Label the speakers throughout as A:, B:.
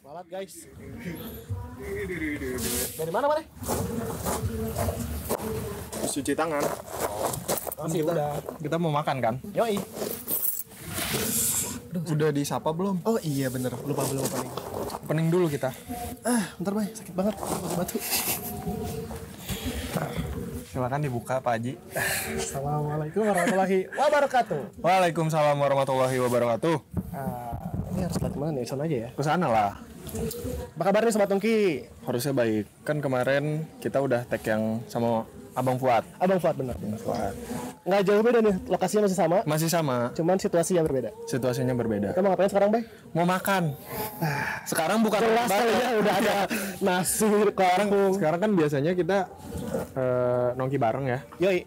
A: Sholat guys. Dari mana mana?
B: Terus cuci tangan.
A: Oh, Masih udah.
B: Kita mau makan kan?
A: Yoi.
B: Udah disapa belum?
A: Oh iya bener. Lupa belum apa nih?
B: Pening dulu kita.
A: Ah, bentar bay. Sakit banget. Masuk batu.
B: Silakan dibuka Pak Haji.
A: Assalamualaikum warahmatullahi wabarakatuh.
B: Waalaikumsalam warahmatullahi wabarakatuh.
A: Ah, ini harus lihat kemana nih? Sana aja ya.
B: Kesana lah.
A: Apa kabar nih Sobat Tongki?
B: Harusnya baik. Kan kemarin kita udah tag yang sama Abang Fuad.
A: Abang Fuad bener. Nggak jauh beda nih. Lokasinya masih sama.
B: Masih sama.
A: Cuman situasi yang berbeda.
B: Situasinya berbeda.
A: Kita mau ngapain sekarang bay?
B: Mau makan. Sekarang bukan
A: Jelas
B: lebaran.
A: kali ya udah ada nasi
B: Sekarang,
A: kampung.
B: sekarang kan biasanya kita eh, nongki bareng ya.
A: Yoi.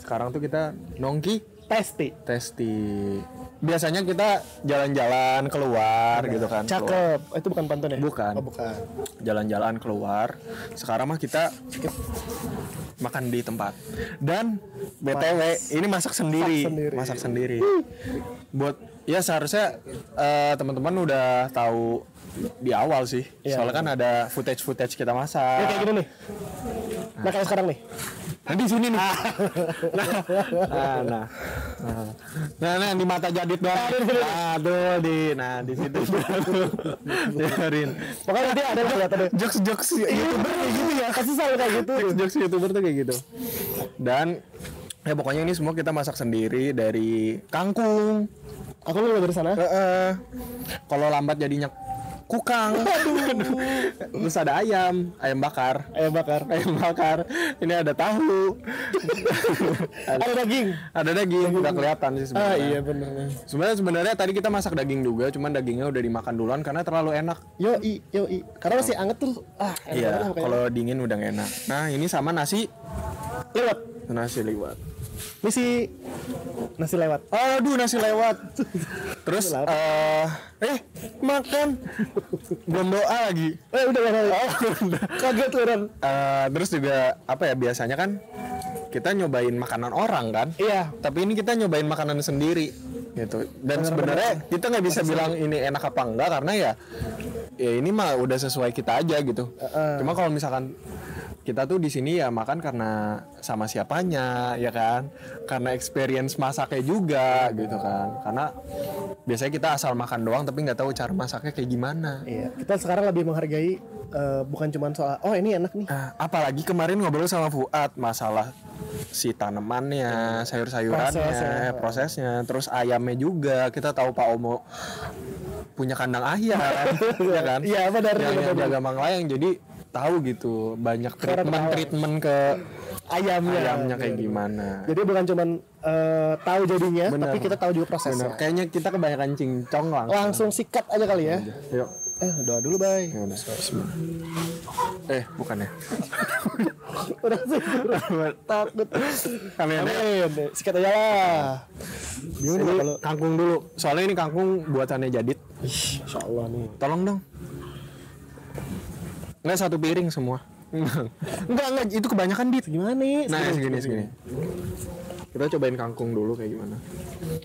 B: Sekarang tuh kita nongki
A: Testi.
B: testi biasanya kita jalan-jalan keluar gitu kan keluar.
A: Cakep. Eh, Itu bukan pantun ya?
B: Bukan.
A: Oh, bukan.
B: jalan-jalan keluar sekarang mah kita makan di tempat dan btw ini masak sendiri
A: Masak sendiri.
B: masak sendiri buat ya seharusnya eh, teman-teman udah tahu di awal sih
A: Iya.
B: soalnya kan ada footage footage kita
A: Ya kayak
B: masak
A: gini nih. Nah kayak sekarang nih.
B: nah Iya, gitu. di sini nih nah, nah, nah, nah, nah, nah, di mata jadit doang nah tuh di nah di situ biarin
A: Pokoknya nanti ada lah kelihatan deh.
B: jokes jokes youtuber kayak gitu ya
A: Kasih selalu kayak gitu.
B: jokes jokes youtuber tuh kayak gitu dan ya pokoknya ini semua kita masak sendiri dari kangkung
A: Aku lu dari sana.
B: Eh, eh. kalau lambat jadinya kukang terus ada ayam ayam bakar
A: Ayam bakar.
B: ayam bakar ini ada tahu ada,
A: Ada daging.
B: ada daging udah kelihatan sih
A: Ah
B: sebenarnya
A: iya bener.
B: sebenarnya sebenarnya tadi kita masak daging juga cuman dagingnya udah dimakan duluan karena terlalu enak
A: Yoi, yoi. Karena masih anget tuh. Ah, enak banget
B: Iya,
A: lah pokoknya.
B: kalau dingin udah nggak enak. Nah, ini sama nasi
A: lewat.
B: nasi lewat.
A: Ini si nasi lewat.
B: Aduh, nasi lewat. Terus
A: Lapar.
B: eh eh makan belum doa lagi.
A: Eh udah udah. udah.
B: Oh, udah.
A: Kaget lu Ran.
B: Eh, terus juga apa ya biasanya kan kita nyobain makanan orang kan?
A: Iya.
B: Tapi ini kita nyobain makanan sendiri gitu. Dan sebenarnya kita nggak bisa bilang ini enak apa enggak karena ya ya ini mah udah sesuai kita aja gitu. Cuma kalau misalkan kita tuh di sini ya makan karena sama siapanya ya kan karena experience masaknya juga gitu kan karena biasanya kita asal makan doang tapi nggak tahu cara masaknya kayak gimana
A: Iya. Kita sekarang lebih menghargai eh, bukan cuman soal oh ini enak nih.
B: Ah, apalagi kemarin ngobrol sama Fuad masalah si tanamannya, sayur-sayurannya,
A: Prosesnya.
B: prosesnya. terus ayamnya juga. Kita tahu Pak Omo punya kandang ayam, ya kan?
A: Iya, benar,
B: Yang,
A: benar,
B: yang
A: benar.
B: jaga manglayang jadi tahu gitu banyak
A: Karena
B: treatment
A: tahu.
B: treatment ke
A: Ayamnya.
B: ayamnya kayak
A: Bener.
B: gimana.
A: Jadi bukan cuman eh, tahu jadinya,
B: Bener.
A: tapi kita tahu juga
B: Bener.
A: prosesnya.
B: Kayaknya kita kebanyakan cincong langsung.
A: Langsung sikat aja kali ya.
B: Yuk.
A: Eh, doa dulu, Bay.
B: Ya udah, bismillah. Eh, bukan ya.
A: Udah sih.
B: Takut. Amin.
A: Amin. Sikat aja lah. Bingung
B: Ini
A: gua kalau
B: kangkung dulu. Soalnya ini kangkung buatannya Jadit.
A: insyaallah nih.
B: Tolong dong. Enggak satu piring semua. enggak, enggak itu kebanyakan dit.
A: Gimana nih?
B: Nah, segini segini. Kita cobain kangkung dulu kayak gimana.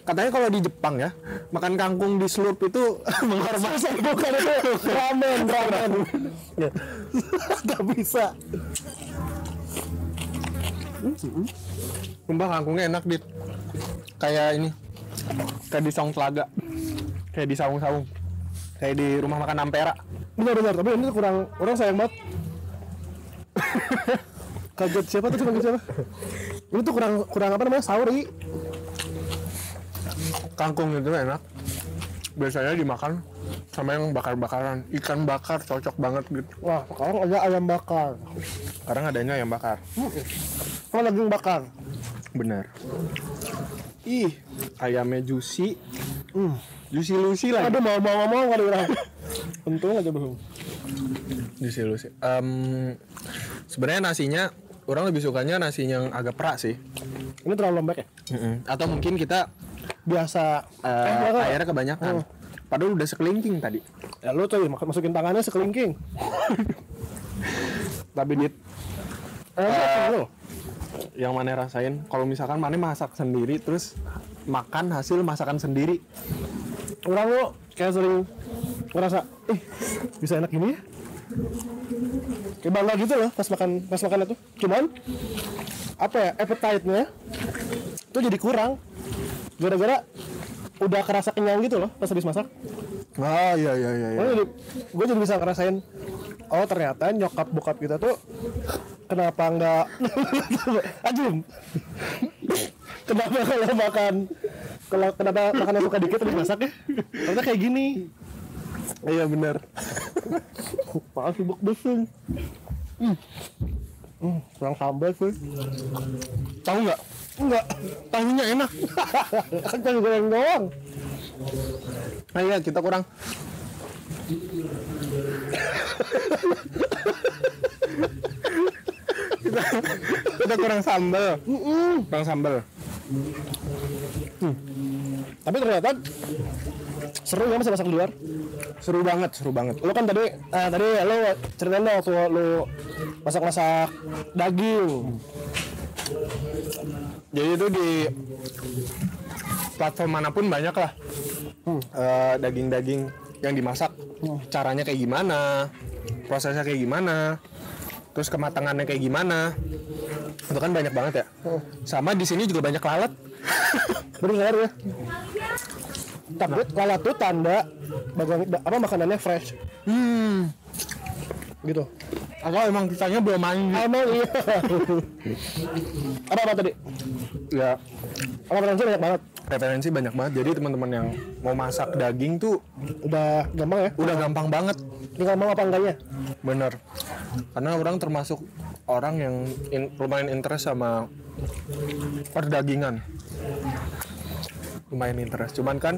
B: Katanya kalau di Jepang ya, makan kangkung di slurp itu mengorbankan
A: bukan itu ramen ramen Ya. nggak bisa
B: Sumpah kangkungnya enak dit. Kayak ini. Kayak di saung telaga. Kayak di saung-saung. Kayak di rumah makan Ampera.
A: benar benar tapi ini kurang kurang sayang banget kaget siapa tuh kaget siapa ini tuh kurang kurang apa namanya sahur i
B: Kangkung itu enak. Biasanya dimakan sama yang bakar-bakaran. Ikan bakar cocok banget gitu.
A: wah sekarang ada ayam bakar
B: Sekarang adanya yang bakar.
A: sama daging bakar
B: Benar.
A: ih
B: Ayamnya juicy. Juicy lucy
A: Hmm.
B: lah.
A: aduh mau mau mau mau kali orang untung aja belum
B: Juicy lucy. Em, sebenarnya nasinya orang lebih sukanya nasi yang agak perak sih.
A: ini terlalu lembek ya
B: Atau mungkin kita
A: biasa
B: eh,
A: bakar.
B: airnya kebanyakan. Padahal udah sekelingking tadi.
A: ya lu tuh mak- masukin tangannya sekelingking
B: Tapi dit
A: eh, lu
B: yang mana rasain kalau misalkan mana masak sendiri terus makan hasil masakan sendiri
A: orang lu kayak sering ngerasa eh bisa enak gini ya kayak bangga gitu loh pas makan pas makan itu cuman apa ya appetite-nya itu jadi kurang gara-gara udah kerasa kenyang gitu loh pas habis masak
B: ah iya iya iya iya.
A: Gue jadi, gue jadi bisa ngerasain oh ternyata nyokap bokap kita tuh kenapa nggak ajum kenapa kalau makan kalau kenapa makanan suka dikit terus masak ya ternyata kayak gini
B: iya benar
A: maaf sibuk besar hmm. Hmm, kurang sambal sih
B: tahu nggak
A: enggak
B: tahunya enak
A: kan cuma goreng doang
B: nah iya kita kurang kita, kita kurang sambel kurang sambel
A: tapi ternyata seru ya, nggak sih masak di luar
B: seru banget seru banget
A: lo kan tadi eh, tadi lo ceritain lo waktu lo masak masak daging
B: jadi itu di platform manapun banyak lah Eh, daging-daging yang dimasak caranya kayak gimana prosesnya kayak gimana terus kematangannya kayak gimana itu kan banyak banget ya sama di sini juga banyak lalat
A: benar ya tapi lalat tuh tanda bagang, ba- apa makanannya fresh
B: hmm
A: gitu
B: atau emang kitanya belum mandi
A: emang iya apa apa tadi
B: ya
A: apa referensi banyak banget
B: referensi banyak banget jadi teman-teman yang mau masak daging tuh
A: udah gampang ya
B: udah gampang banget
A: tinggal mau apa enggaknya
B: Bener. Karena orang termasuk orang yang in- lumayan interest sama perdagingan. Lumayan interest. Cuman kan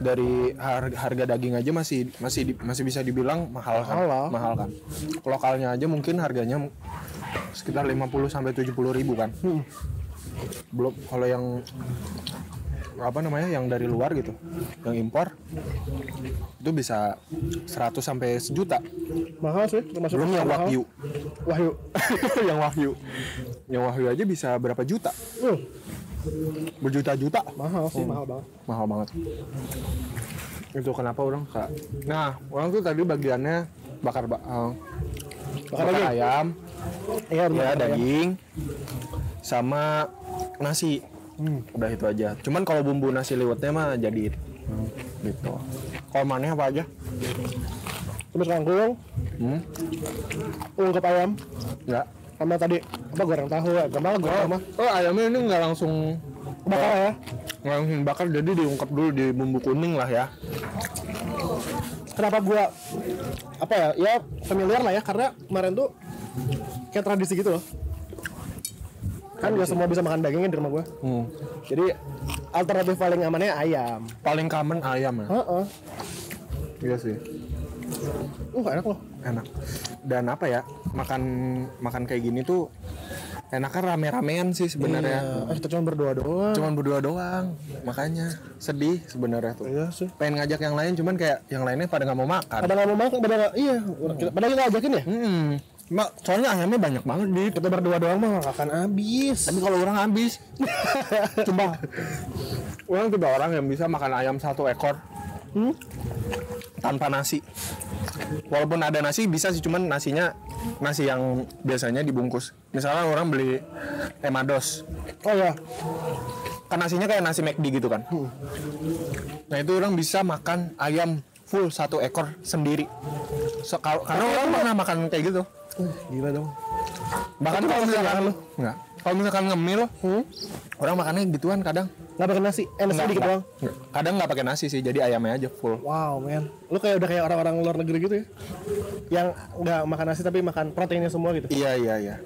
B: dari har- harga daging aja masih masih di- masih bisa dibilang mahal kan.
A: Mahal lah.
B: Mahal kan. Lokalnya aja mungkin harganya m- sekitar 50 sampai 70 ribu kan.
A: Hmm.
B: Belum kalau yang apa namanya yang dari luar gitu, yang impor itu bisa 100 sampai sejuta.
A: mahal sih termasuk
B: Belum yang
A: mahal.
B: wagyu.
A: ya, wahyu
B: yang wahyu. Yang wahyu aja bisa berapa juta?
A: uh,
B: Berjuta-juta.
A: mahal sih mahal banget
B: Mahal banget. Itu kenapa orang suka. Nah, orang tuh tadi bagiannya bakar ba- eh,
A: Bakar
B: bakar,
A: daging.
B: ayam,
A: iya benar benar,
B: ya
A: ya.
B: daging sama nasi.
A: Hmm.
B: Udah itu aja. Cuman kalau bumbu nasi liwetnya mah jadi gitu. Komannya apa aja?
A: terus kangkung
B: Hmm?
A: ungkep ayam
B: Enggak.
A: sama tadi apa goreng tahu ya gampang lah goreng mah
B: Oh, ayamnya ini nggak langsung
A: bakar ya
B: nggak langsung bakar jadi diungkap dulu di bumbu kuning lah ya.
A: kenapa gua apa ya ya familiar lah ya karena kemarin tuh kayak tradisi gitu loh kan gak semua bisa makan dagingnya di rumah gua
B: Hmm.
A: jadi alternatif paling amannya ayam
B: paling common ayam ya
A: Heeh.
B: iya sih
A: Uh, enak loh.
B: enak dan apa ya makan makan kayak gini tuh enaknya rame-ramean sih sebenarnya
A: Iya. Eh, kita cuma berdoa doang.
B: cuman berdua doang makanya sedih sebenarnya tuh
A: Iya sih.
B: pengen ngajak yang lain cuman kayak yang lainnya pada nggak mau makan
A: Pada nggak mau makan, pada nggak, iya. Kita, pada kita ajakin ya.
B: hmm. Ma- soalnya ayamnya banyak banget di
A: Kita berdua doang mah nggak akan habis.
B: tapi kalau orang habis coba orang tipe orang yang bisa makan ayam satu ekor
A: Hmm?
B: tanpa nasi walaupun ada nasi bisa sih cuman nasinya nasi yang biasanya dibungkus misalnya orang beli emados
A: Oh ya,
B: kan nasinya kayak nasi McD gitu kan nah itu orang bisa makan ayam full satu ekor sendiri So, kar- karena orang pernah makan kayak gitu
A: gila dong.
B: bahkan
A: Itu
B: kalau
A: kalau
B: misalkan
A: misalkan-
B: Nggak. kalau misalkan ngemil
A: Hmm?
B: orang makannya gituan kadang
A: Nggak pakai nasi, eh nasi
B: Nggak,
A: dikit
B: nggak.
A: doang.
B: Nggak. kadang nggak pakai nasi sih jadi ayamnya aja full
A: Wow, man. Lu kayak udah kayak orang-orang luar negeri gitu ya. Yang nggak makan nasi tapi makan proteinnya semua gitu.
B: iya iya iya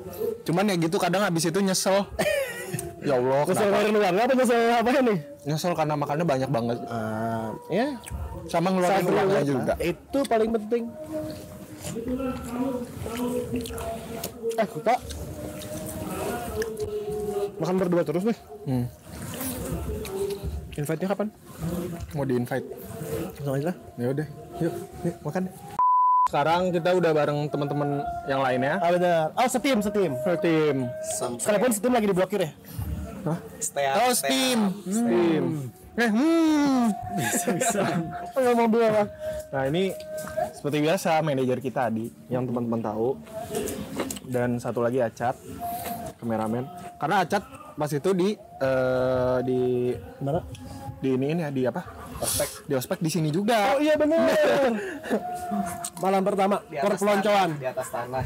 B: cuman ya gitu kadang habis itu nyesel ya Allah
A: Nyesel
B: kenapa? Eh,
A: kemarin luar, apa nyesel apa nih?
B: nyesel karena makannya banyak banget
A: ya,
B: sama ngeluarin
A: Satria
B: uangnya
A: Wata.
B: juga
A: Itu paling penting. Eh, kita makan berdua terus nih.
B: hmm.
A: Invite-nya kapan?
B: mau di invite
A: Langsung aja lah.
B: ya udah yuk yuk makan sekarang kita udah bareng teman-teman yang lainnya
A: Ah, benar. Oh, setim, setim.
B: tim
C: Sampai
A: Sekalipun setim lagi diblokir ya.
C: stay
B: oh steam steam eh hmm
C: bisa bisa
A: Apa yang mau bilang ah?
B: nah ini seperti biasa manajer kita Adi yang teman-teman tahu dan satu lagi Acat kameramen karena Acat pas itu di eh, di
A: Gimana?
B: di ini ya di apa ospek di ospek di sini juga
A: Oh iya bener Malam pertama perpeloncoan
C: di atas tanah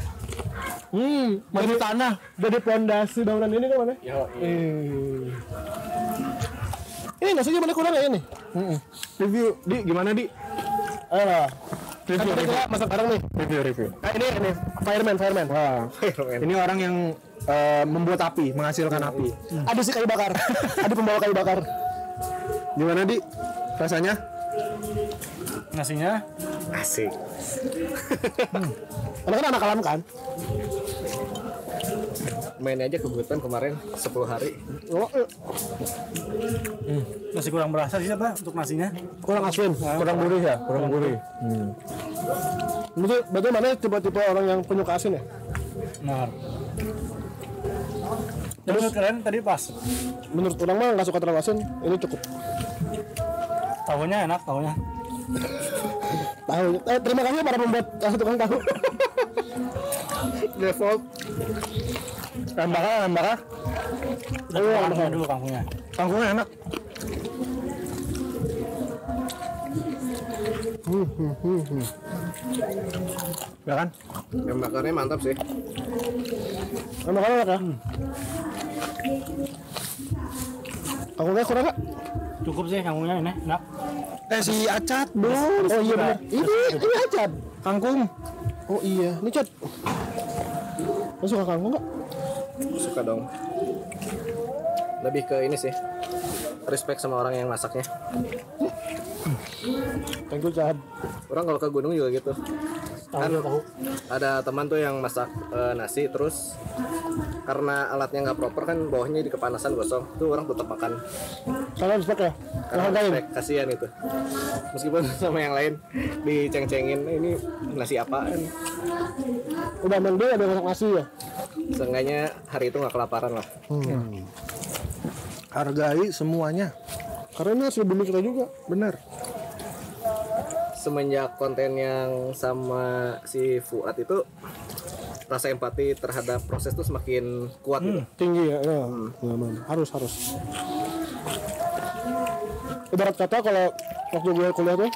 B: hmm maju tanah
A: Jadi pondasi bangunan ini kan mana?
C: yo
A: Eh. Ini nasinya mana kurang ya ini?
B: Mm-mm. review di gimana di
A: Ayo lah Kan
B: review
A: kita
B: review
A: juga masak bareng nih
B: review, review.
A: Ah, ini ini fireman fireman.
B: Wah, ini orang yang eh, membuat api menghasilkan api
A: Aduh si kayu bakar. Aduh pembawa kayu bakar.
B: gimana di rasanya
C: nasinya asik
A: Karena kan anak alam kan.
C: main aja ke hutan kemarin 10 hari
A: Oh, eh,
D: masih kurang berasa sih apa untuk nasinya
A: kurang Hmm. aswin.
B: kurang gurih ya kurang gurih
A: Berarti, berarti mana tipe-tipe orang yang penyuka asin ya?
D: benar Terus menurut kalian tadi pas
A: Menurut orang mah nggak suka terlalu asin. Ini cukup.
D: tahunya enak tahunya
A: Tahu. Eh, terima kasih para pembuat ah, tukang tahu.
B: default Rambaka, rambaka,
D: Udah
A: Iya,
D: kangkungnya
A: benar.
D: dulu kangkungnya
B: kangkungnya enak. Ya kan?
C: yang bakarnya mantap sih
A: Emang kan enak ya?
B: Hmm.
A: Kangkungnya kurang nggak?
D: cukup sih kangkungnya ini enak
B: Eh si Acat belum.
A: Oh iya benar. Ini ini aja.
B: Kangkung.
A: Oh iya, ini cat. Lo suka kangkung nggak?
C: suka dong lebih ke ini sih respect sama orang yang masaknya
A: Thank you cat.
C: orang kalau ke gunung juga gitu kan ada teman tuh yang masak eh, nasi terus karena alatnya nggak proper kan bawahnya di kepanasan gosong tuh orang tetap makan
A: Kalian respect ya? Kalian
C: karena
A: hargain.
C: respect kasihan itu meskipun sama yang lain diceng-cengin "Eh, ini nasi apaan
A: Udah main dia ada masak nasi ya?
C: seenggaknya hari itu nggak kelaparan lah
B: Hargai semuanya.
A: Karena ini hasil bumi kita juga.
B: Bener.
C: semenjak konten yang sama si Fuad itu rasa empati terhadap proses tuh semakin kuat gitu.
A: tinggi ya, ya. Ya, memang. harus harus ibarat kata kalau waktu gue kuliah tuh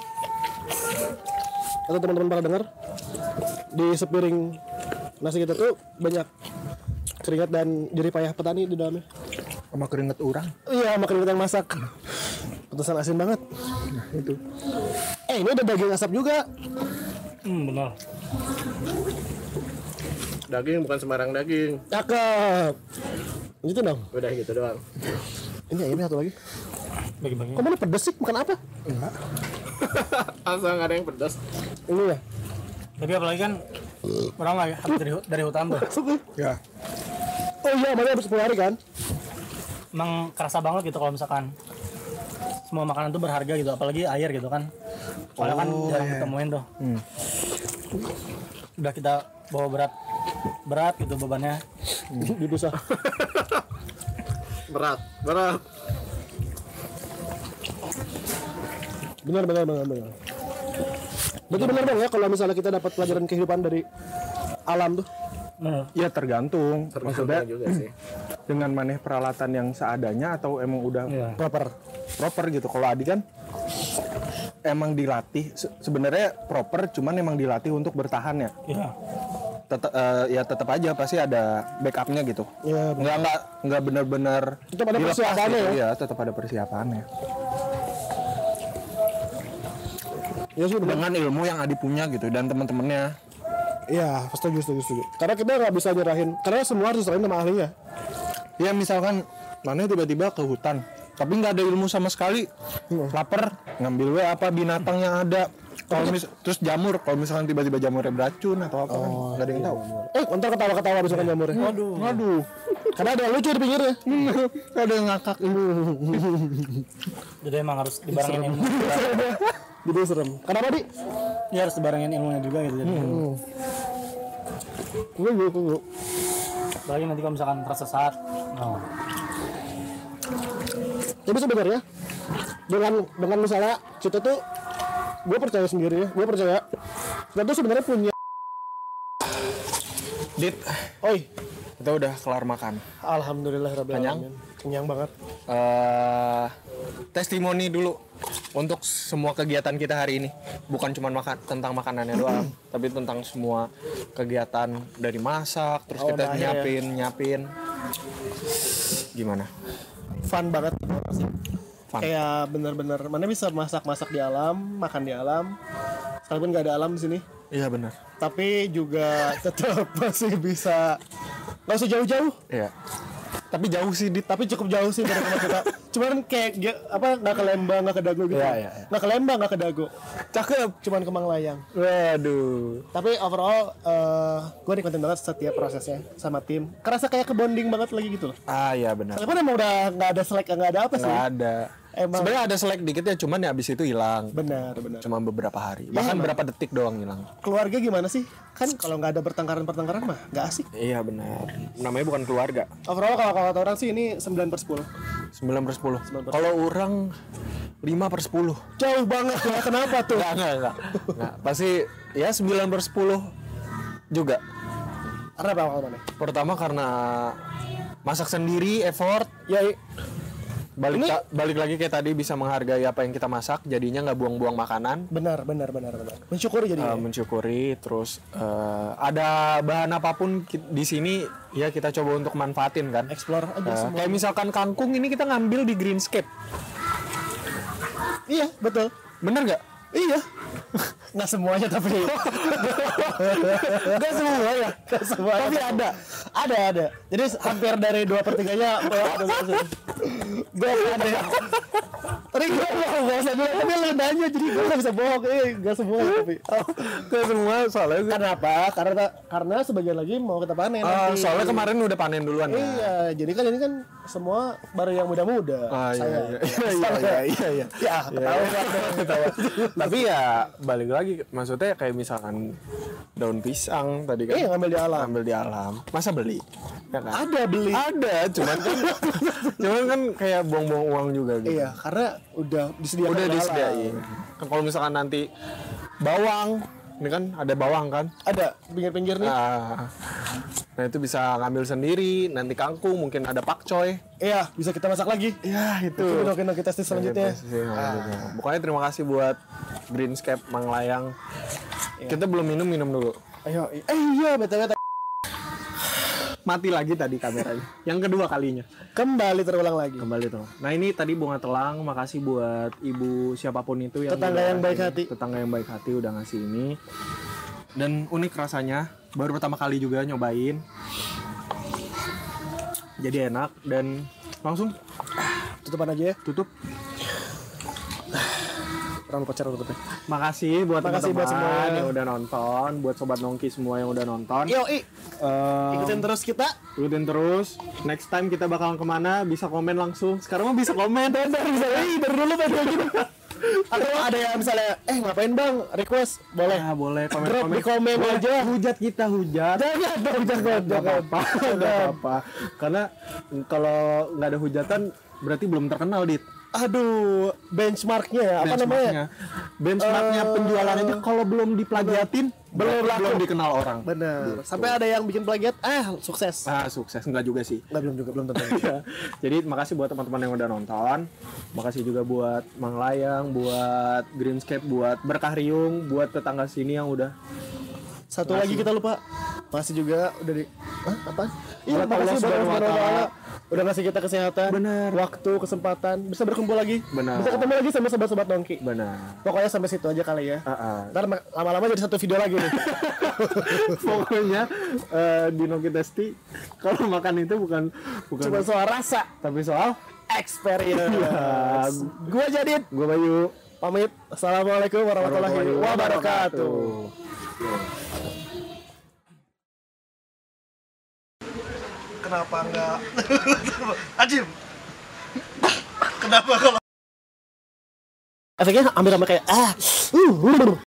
A: atau teman-teman pada dengar di sepiring nasi kita tuh banyak keringat dan jerih payah petani di dalamnya
B: Sama keringet orang.
A: iya sama keringat yang masak petesan asin banget Nah,
B: Itu.
A: eh ini ada daging asap juga
D: hmm, benar
C: Daging bukan sembarang daging.
A: cakep gitu dong
C: Udah gitu doang.
A: ini ini satu lagi
D: bagi-bagi
A: kok mana pedes sih bukan apa
C: Asal nggak ada yang pedas.
A: ini ya
D: tapi apalagi kan orang lagi habis dari, hu- dari hutan tuh
B: Ya.
A: oh iya mana habis 10 hari kan
D: emang kerasa banget gitu kalau misalkan semua makanan tuh berharga gitu apalagi air gitu kan soalnya kan
A: Oh,
D: jarang
A: iya.
D: ditemuin tuh
A: Hmm.
D: udah kita bawa berat berat gitu bebannya
A: dipisah
C: Berat, berat.
A: benar benar benar benar berarti benar bang ya kalau misalnya kita dapat pelajaran kehidupan dari alam tuh
D: Bener.
B: Ya tergantung.
C: Termasuk
B: Maksudnya
C: juga sih.
B: dengan maneh peralatan yang seadanya atau emang udah
D: Iya.
B: proper proper gitu kalau Adi kan emang dilatih se- sebenarnya proper cuman emang dilatih untuk bertahan ya
D: Iya.
B: tetap ya tetap aja pasti ada backupnya gitu
A: ya
B: nggak nggak nggak benar-benar
A: Tetap ada
B: dilepas
A: persiapannya
B: gitu. ya tetap ada persiapannya
A: ya sih benar
B: dengan ilmu yang Adi punya gitu dan teman-temannya
A: ya setuju setuju setuju karena kita nggak bisa nyerahin karena semua harus diserahin sama ahlinya
B: ya misalkan mana tiba-tiba ke hutan tapi nggak ada ilmu sama sekali lapar ngambil we apa binatang yang ada kalau mis- terus jamur kalau misalkan tiba-tiba jamurnya beracun atau apa kan nggak ada yang tahu
A: eh ntar ketawa ketawa misalkan jamurnya waduh waduh karena ada yang lucu di pinggirnya
B: ada yang ngakak
D: jadi emang harus dibarengin ilmu
A: jadi serem kenapa di
D: ya harus dibarengin ilmunya juga gitu jadi
A: gue gue gue
D: apalagi nanti kalau misalkan tersesat no.
A: tapi sebenarnya dengan dengan misalnya kita tuh gue percaya sendiri ya gue percaya kita tuh sebenarnya punya
B: Dit,
A: oi
B: kita udah kelar makan.
A: alhamdulillah rabbil
B: Kenyang?
A: alamin kenyang banget
B: eh testimoni dulu untuk semua kegiatan kita hari ini bukan cuma makan tentang makanannya doang tapi tentang semua kegiatan dari masak terus
A: Oh,
B: kita
A: udah akhir ya.
B: nyiapin nyiapin gimana
A: fun banget
B: Fun.
A: kayak bener-bener mana bisa masak-masak di alam makan di alam sekalipun nggak ada alam di sini
B: iya benar
A: tapi juga tetap masih bisa nggak usah jauh-jauh
B: iya tapi jauh sih dit
A: tapi cukup jauh sih dari rumah kita cuman kayak ge- apa nggak ke Lembang nggak ke Dago gitu
B: Iya, iya, iya.
A: nggak ke Lembang nggak ke Dago
B: cakep
A: cuman ke Manglayang
B: waduh
A: tapi overall gue nikmatin banget setiap prosesnya sama tim kerasa kayak ke bonding banget lagi gitu loh
B: ah iya benar
A: Sekalipun emang udah nggak ada slack nggak ada apa sih
B: nggak ada
A: Emang.
B: sebenarnya ada selek dikit ya cuman ya abis itu hilang
A: benar benar
B: cuma beberapa hari bahkan berapa detik doang hilang
A: keluarga gimana sih kan kalau nggak ada pertengkaran pertengkaran mah nggak asik
B: iya benar namanya bukan keluarga
A: overall kalau kalau kata orang sih ini 9 per 10
B: 9 per 10 Kalau orang 5 per 10
A: jauh banget ya kenapa tuh
B: Enggak, enggak, enggak Enggak, Pasti ya 9 per 10 juga
A: karena apa kalau mana
B: Pertama karena masak sendiri, effort
A: ya i-
B: Balik, ta- balik lagi kayak tadi bisa menghargai apa yang kita masak Jadinya nggak buang-buang makanan
A: benar benar benar benar mensyukuri jadi
B: Eh, mensyukuri terus eh, ada bahan apapun ki- di sini ya kita coba untuk manfaatin kan
A: ya. explore aja
B: Eh,
A: semua
B: kayak misalkan kangkung ini kita ngambil di greenscape
A: iya betul
B: bener nggak
A: iya nggak semuanya tapi
B: iya. Enggak semua ya
A: Nggak semuanya.
B: tapi ada
A: ada ada jadi hampir dari dua oh, pertiganya gue ada tadi gue mau bahasa dulu tapi lu nanya jadi gue nggak bisa bohong eh nggak semua tapi
B: Ke semua soalnya gue-
A: kenapa karena karena sebagian lagi mau kita panen
B: Ah,
A: nanti.
B: soalnya kemarin udah panen duluan ya.
A: Iya, jadi kan ini kan semua baru yang muda-muda.
B: Ah, iya,
A: saya.
B: iya, iya, iya, iya, iya, iya.
A: Ya, ketahuan.
B: Ketawa. Tapi ya balik lagi maksudnya kayak misalkan daun pisang tadi kan
A: Iya, ngambil di alam.
B: ambil di alam. Masa beli? Ya kan?
A: Ada beli.
B: Ada, cuman kan cuman kan kayak buang-buang uang juga gitu.
A: Iya, karena udah disediakan. di
B: Udah
A: alam.
B: disediain. Kan kalau misalkan nanti bawang, ini kan ada bawang kan?
A: Ada pinggir-pinggir nih.
B: Nah, nah itu bisa ngambil sendiri, nanti kangkung mungkin ada pakcoy.
A: Iya, bisa kita masak lagi.
B: Ya, itu.
A: Oke,
B: Ah.
A: oke, oke,
B: Iya,
A: testis selanjutnya.
B: Pokoknya terima kasih buat Greenscape Manglayang. Kita belum minum minum dulu.
A: Ayo, i- eh iya betul betul.
B: Mati lagi tadi kameranya. Yang kedua kalinya.
A: Kembali terulang lagi.
B: Kembali tuh. Nah ini tadi bunga telang. Makasih buat ibu siapapun itu yang
A: Tetangga
B: udah
A: yang baik
B: ngasih-
A: hati.
B: Tetangga yang baik hati udah ngasih ini. Dan unik rasanya. Baru pertama kali juga nyobain. Jadi enak dan langsung
A: Tutupan aja ya.
B: tutup.
A: Orang lupa cara tutupnya.
B: Makasih buat
A: Makasih buat
B: teman-teman
A: semua.
B: yang udah nonton, buat sobat nongki semua yang udah nonton.
A: Yo, i.
B: Eh,
A: Ikutin terus kita.
B: ikutin terus. Next time kita bakalan kemana? Bisa komen langsung. Sekarang mah bisa komen. Iya.
A: Bisa ih, dari dulu pada gitu. Atau ada yang misalnya, eh ngapain bang? Request boleh.
B: Ya, boleh komen
A: Drop di
B: komen.
A: komen aja.
B: Hujat kita hujat.
A: Jangan dong, jangan,
B: Gak
A: jangan.
B: apa-apa. Gak apa-apa. Karena kalau nggak ada hujatan berarti belum terkenal dit.
A: Aduh, benchmarknya ya, apa namanya? Eh,
B: Benchmarknya, benchmarknya penjualan aja kalau belum diplagiatin
A: Belum
B: berarti
A: laku.
B: belum dikenal orang.
A: Bener. Sampai ada yang bikin plagiat, ah sukses.
B: Ah sukses nggak juga sih.
A: Nggak belum juga belum tentu.
B: Ya, Jadi makasih buat teman-teman yang udah nonton. Makasih juga buat Mang Layang, buat Greenscape, buat Berkah Riung, buat tetangga sini yang udah
A: Satu lagi kita lupa. Masih juga udah di Hah, apa? Iya,
B: Buat
A: makasih
B: Allah
A: buat
B: Subhanahu wa
A: Allah
B: Ta'ala.
A: Udah ngasih kita kesehatan,
B: Bener.
A: waktu, kesempatan, bisa berkumpul lagi,
B: Bener.
A: bisa ketemu lagi sama sobat-sobat nongki.
B: benar.
A: Pokoknya sampai situ aja kali ya.
B: Ah, ah.
A: Ntar ma- lama-lama jadi satu video lagi nih.
B: Pokoknya eh, di Noki Testi kalau makan itu bukan bukan
A: Cuma soal rasa,
B: tapi soal
A: experience. Gua jadi
B: gue Bayu.
A: pamit. Assalamualaikum warahmatullahi wabarakatuh. kenapa nggak Ajib kenapa kalau efeknya hampir sama kayak ah